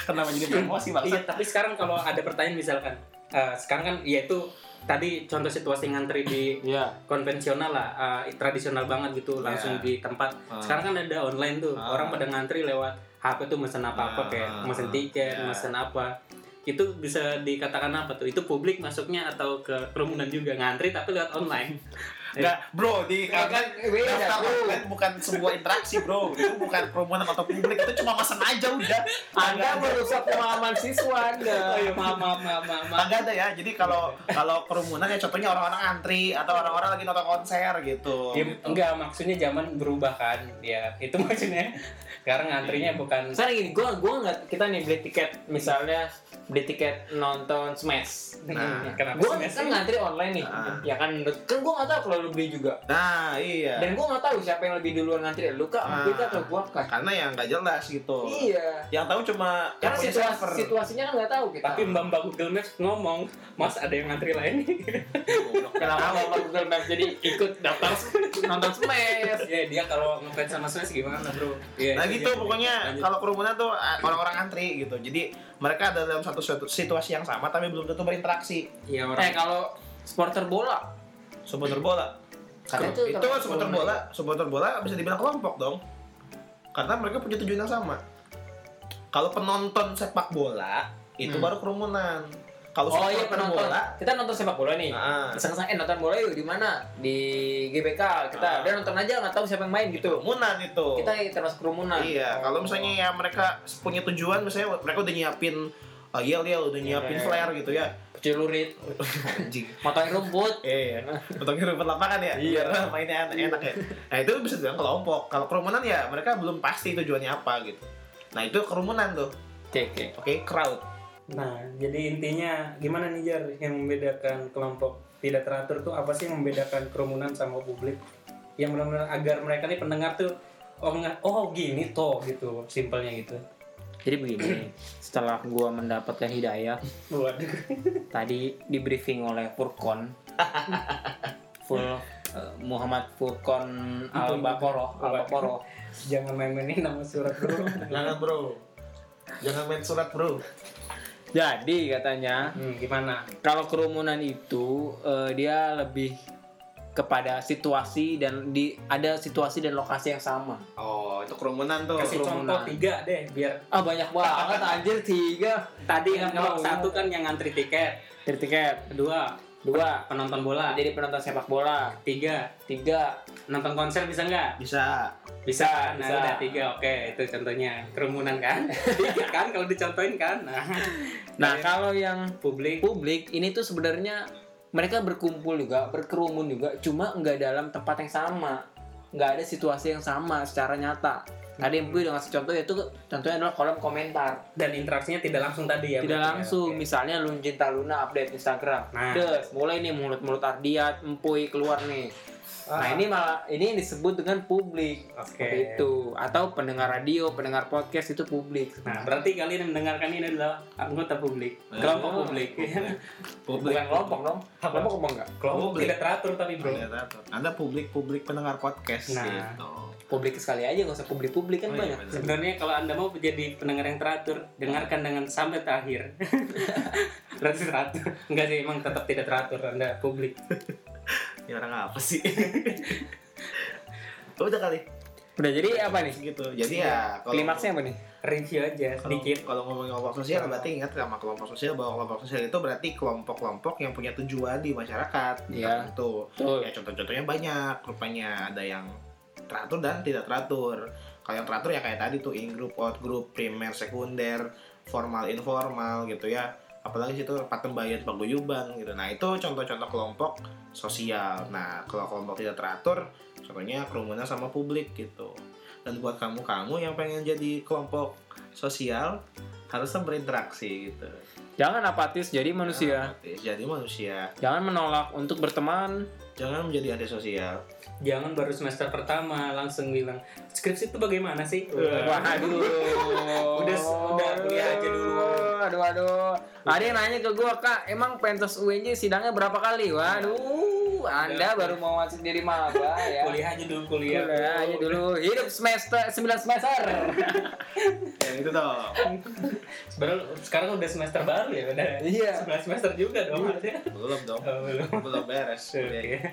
Kenapa jadi promosi Iya, maksud? tapi sekarang kalau ada pertanyaan misalkan, eh, sekarang kan yaitu tadi contoh situasi ngantri di Iya. konvensional lah, eh, tradisional banget gitu, langsung Iya. di tempat. Sekarang kan ada online tuh, Ah. orang pada ngantri lewat HP tuh mesen Ah. apa-apa kayak mesen tiket, Iya. mesen apa. Itu bisa dikatakan apa tuh? Itu publik masuknya atau ke kerumunan juga ngantri tapi lewat online. Enggak, bro, di Ya Iya, kan, beda, daftar bro. online bukan sebuah interaksi, bro. Itu bukan kerumunan atau publik, itu cuma mesen aja udah. Anda merusak pengalaman siswa Anda. Oh iya, maaf, maaf, maaf, maaf. maaf. Tangga ada ya, jadi kalau kalau kerumunan ya contohnya orang-orang antri atau orang-orang lagi nonton konser gitu. Ya, enggak maksudnya zaman berubah kan ya itu maksudnya sekarang ngantrinya bukan Sekarang gini, gua gua nggak kita nih beli tiket misalnya beli tiket nonton Smash. Nah. kenapa Gua sih, Mes? kan ngantri online nih. Ah. Ya kan menurut- kan gua nggak tahu kalau lu beli juga. Nah, iya. Dan gua nggak tahu siapa yang lebih duluan ngantri, lu kak, Ah. aku kak, atau gua kak. Karena yang nggak jelas gitu. Iya. Yang tahu cuma yang Karena punya situasi, server. situasinya kan nggak tahu kita. Tapi Mbak Mbak Google Maps ngomong, Mas ada yang ngantri lain nih. Goblok. kenapa nggak pakai Google Maps jadi ikut daftar nonton Smash? ya dia kalau ngefans sama Smash gimana bro? Iya, Nah itu gitu dia. pokoknya Lanjut. kalau kerumunan tuh ah, orang-orang antri gitu. Jadi mereka ada dalam satu suatu situasi yang sama tapi belum tentu berinteraksi. Iya orang Eh kalau supporter bola, Supporter bola. Karena itu, itu itu termasuk supporter kerumunan. bola, supporter bola bisa dibilang kelompok dong. Karena mereka punya tujuan yang sama. Kalau penonton sepak bola itu Hmm. baru kerumunan. Kalau oh supporter iya penonton, bola, kita nonton sepak bola nih. ah, Sengaja eh nonton bola yuk di mana? Di GBK kita Ah. udah nonton aja nggak tahu siapa yang main gitu. kerumunan itu. Kita Oh. termasuk kerumunan. Iya, kalau misalnya ya mereka punya tujuan, misalnya mereka udah nyiapin uh, yel yel, udah nyiapin Iya. flare gitu ya. pecurit, Anjing. motongin rumput. Iya, iya. potongin rumput lapangan ya. Iya. Biar mainnya en- enak ya. Nah itu bisa dibilang kelompok. Kalau kerumunan ya mereka belum pasti tujuannya apa gitu. Nah itu kerumunan tuh. Oke oke. Oke, crowd. Nah, jadi intinya gimana nih Jar yang membedakan kelompok tidak teratur tuh apa sih yang membedakan kerumunan sama publik? Yang benar-benar agar mereka nih pendengar tuh oh nggak oh gini toh gitu simpelnya gitu. Jadi begini, setelah gua mendapatkan hidayah Waduh. tadi di briefing oleh Furkon Ful eh, Muhammad Furkon Al Bakoroh Al Bakoroh Jangan main-mainin nama surat bro. Jangan bro. Jangan main surat bro. jadi katanya Hmm, gimana? kalau kerumunan itu eh, dia lebih kepada situasi dan di ada situasi dan lokasi yang sama Oh itu kerumunan tuh. Kasih kerumunan. contoh tiga deh biar ah banyak banget anjir tiga tadi kan kalau Mau. satu kan yang ngantri tiket, dari Iya. tiket kedua Dua, penonton bola jadi penonton sepak bola. tiga Tiga, nonton konser bisa nggak bisa bisa nah bisa. udah tiga oke itu contohnya kerumunan kan Dikit kan kalau dicontohin kan nah Nah, kalau yang publik publik ini tuh sebenarnya mereka berkumpul juga, berkerumun juga, cuma nggak dalam tempat yang sama, nggak ada situasi yang sama secara nyata. Tadi yang gue udah ngasih contoh yaitu contohnya adalah kolom komentar, dan interaksinya tidak langsung tadi ya tidak berarti ya, langsung. oke. Misalnya Lunjin Taruna update Instagram, Nah. Des, mulai nih mulut-mulut Ardiat, Empuy keluar nih. Nah ini malah ini yang disebut dengan publik Ah. Oke. seperti itu atau pendengar radio, pendengar podcast itu publik. Nah, berarti kalian yang mendengarkan ini adalah anggota publik, Iya. kelompok Oh. publik. publik bukan kelompok dong, kelompok apa enggak? kelompok Publik. Iya. tidak teratur tapi bro. anda publik publik pendengar podcast Nah. gitu Publik sekali aja nggak usah publik-publik kan Oh, iya, banyak. benar. Sebenarnya kalau Anda mau jadi pendengar yang teratur, dengarkan dengan sampai terakhir. Berarti teratur. Enggak sih, emang tetap tidak teratur Anda publik. ini orang apa sih udah kali Udah jadi apa nih? gitu jadi ya kalau- Klimaksnya apa nih? Review aja kalau sedikit. kalau ngomongin kelompok sosial berarti ingat sama kelompok sosial bahwa kelompok sosial itu berarti kelompok-kelompok yang punya tujuan di masyarakat Iya. itu Betul. ya contoh-contohnya banyak rupanya ada yang teratur dan tidak teratur kalau yang teratur ya kayak tadi tuh in group out group primer sekunder formal informal gitu ya apalagi situ patembayan paguyuban gitu nah itu contoh-contoh kelompok sosial nah kalau kelompok tidak teratur contohnya kerumunan sama publik gitu dan buat kamu-kamu yang pengen jadi kelompok sosial harusnya berinteraksi gitu Jangan apatis jadi Ah. manusia. jadi manusia Jangan menolak untuk berteman. jangan menjadi antisosial Jangan baru semester pertama langsung bilang, "Skripsi itu bagaimana sih?" Wah. Iya. Waduh. Udah- udah kuliah aja dulu. Aduh aduh. Ada yang nanya ke gua, "Kak, emang pentas UNJ sidangnya berapa kali?" Waduh. Anda baru mau masuk jadi maba ya. Kuliah aja dulu kuliah. Kuliah aja dulu. Hidup semester 9 semester. ya itu dong Sebenarnya sekarang udah semester baru ya, udah. Iya. 11 semester juga dong harusnya. belum dong Oh, belum. belum beres Oke.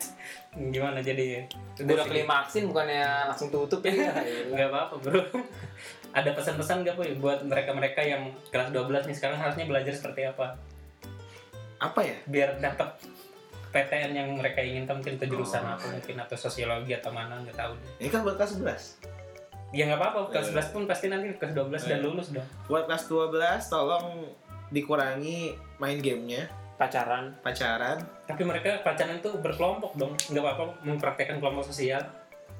Gimana jadi? Iya. Udah klimaksin bukannya langsung tutup ya. Gak apa-apa bro Ada pesan-pesan gak Puy buat mereka-mereka yang kelas 12 nih sekarang harusnya belajar seperti apa apa ya Biar dapat PTN yang mereka inginkan mungkin ke jurusan Oh. apa mungkin Atau sosiologi atau mana gak tahu deh ini kan buat kelas 11 Ya gak apa-apa Eh. kelas 11 pun pasti nanti kelas 12 Eh. dan lulus dong buat kelas 12 tolong dikurangi main gamenya Pacaran. pacaran Tapi mereka pacaran tuh berkelompok dong Gak apa-apa mempraktekkan kelompok sosial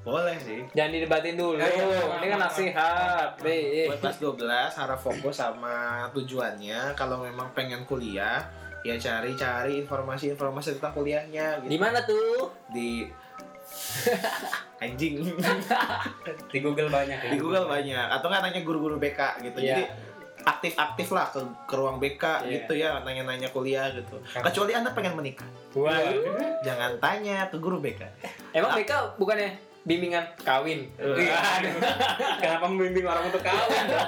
boleh sih Jangan didebatin dulu. Ya, ya, ya. Ini kan nasihat. Eh, eh. buat kelas 12 harap fokus sama tujuannya kalau memang pengen kuliah ya cari-cari informasi-informasi tentang kuliahnya Di gitu. mana tuh? di anjing Di Google banyak ya di Google banyak atau nggak nanya guru-guru BK gitu Iya. jadi aktif-aktif lah ke, ke ruang BK Iya. gitu ya nanya-nanya kuliah gitu Karena- kecuali anda pengen menikah Waduh. jangan tanya kan? ke guru BK Emang BK bukannya bimbingan kawin? Iya. Waduh. Kenapa membimbing orang untuk kawin? bro?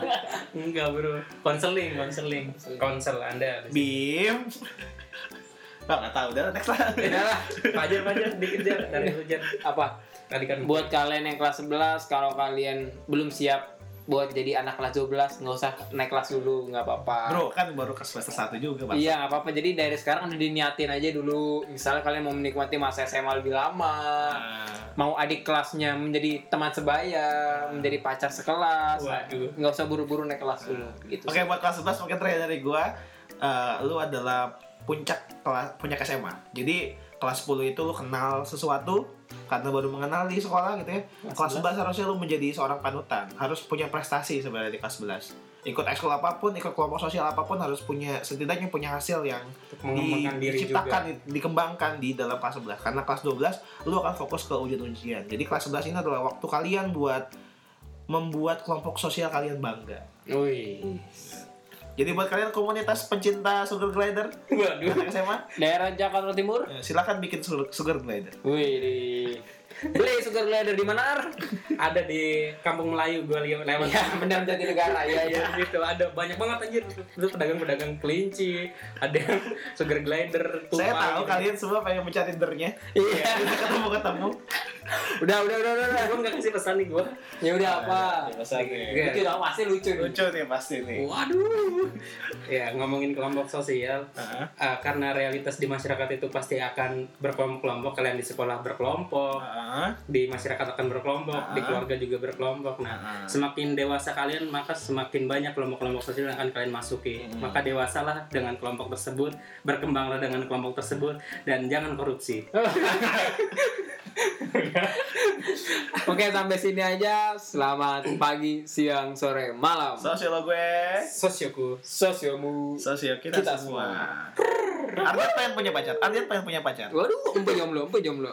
Enggak bro, konseling, konseling, konsel Anda. Bim Bang, nggak tahu, udah next lah Udah lah. Pajar, pajar, dikejar dari hujan. Apa? Tadi kan Buat kalian yang kelas 11, kalau kalian belum siap buat jadi anak kelas 12, nggak usah naik kelas dulu, nggak apa-apa. Bro, kan baru ke semester 1 juga, Bang Iya, nggak apa-apa. Jadi dari sekarang udah diniatin aja dulu. Misalnya kalian mau menikmati masa SMA lebih lama, Nah, mau adik kelasnya menjadi teman sebaya, menjadi pacar sekelas. Waduh. Nggak usah buru-buru naik kelas dulu. Gitu. Oke, buat kelas 11 mungkin terakhir dari gua eh, Lu adalah puncak kelas puncak SMA Jadi kelas 10 itu lu kenal sesuatu karena baru mengenal di sekolah gitu ya Kelas 11 harusnya lu menjadi seorang panutan Harus punya prestasi sebenarnya di kelas 11 Ikut ekskul apapun, ikut kelompok sosial apapun harus punya Setidaknya punya hasil yang untuk di, mengembangkan diri diciptakan, juga. di- dikembangkan di dalam kelas 11. Karena kelas 12 lu akan fokus ke ujian-ujian. Jadi kelas 11 ini adalah waktu kalian buat membuat kelompok sosial kalian bangga. Wih. Jadi buat kalian komunitas pencinta sugar glider Waduh. anak SMA, Daerah Jakarta Timur? eh, silakan bikin sugar, sugar glider. Wih. Beli sugar glider di mana? Ar? ada di kampung Melayu gue lihat lewat Ya, benar jadi negara ya ya. Iya, gitu ada banyak banget anjir itu pedagang-pedagang kelinci ada yang sugar glider Saya tupai, tahu gitu. kalian semua pengen mencari dernya. Iya. ketemu ketemu. Udah, udah, udah, udah. udah. gue nggak kasih pesan nih gue Ya udah apa? Iya. Lucu dong, pasti lucu. Lucu nih pasti nih. waduh ya ngomongin kelompok sosial Heeh. eh, karena realitas di masyarakat itu pasti akan berkelompok-kelompok kalian di sekolah berkelompok Heeh. di masyarakat akan berkelompok di Ah. keluarga juga berkelompok Heeh. nah semakin dewasa kalian maka semakin banyak kelompok-kelompok sosial yang akan kalian masuki Hmm. maka dewasalah dengan kelompok tersebut berkembanglah dengan kelompok tersebut dan jangan korupsi Oke, sampai sini aja. Selamat pagi, siang, sore, malam. Sosio lo gue. sosioku Sosiomu. Sosio kita, Kita semua. Ardian pengen punya pacar. Ardian pengen punya pacar. Waduh, empe jomblo, empe jomblo.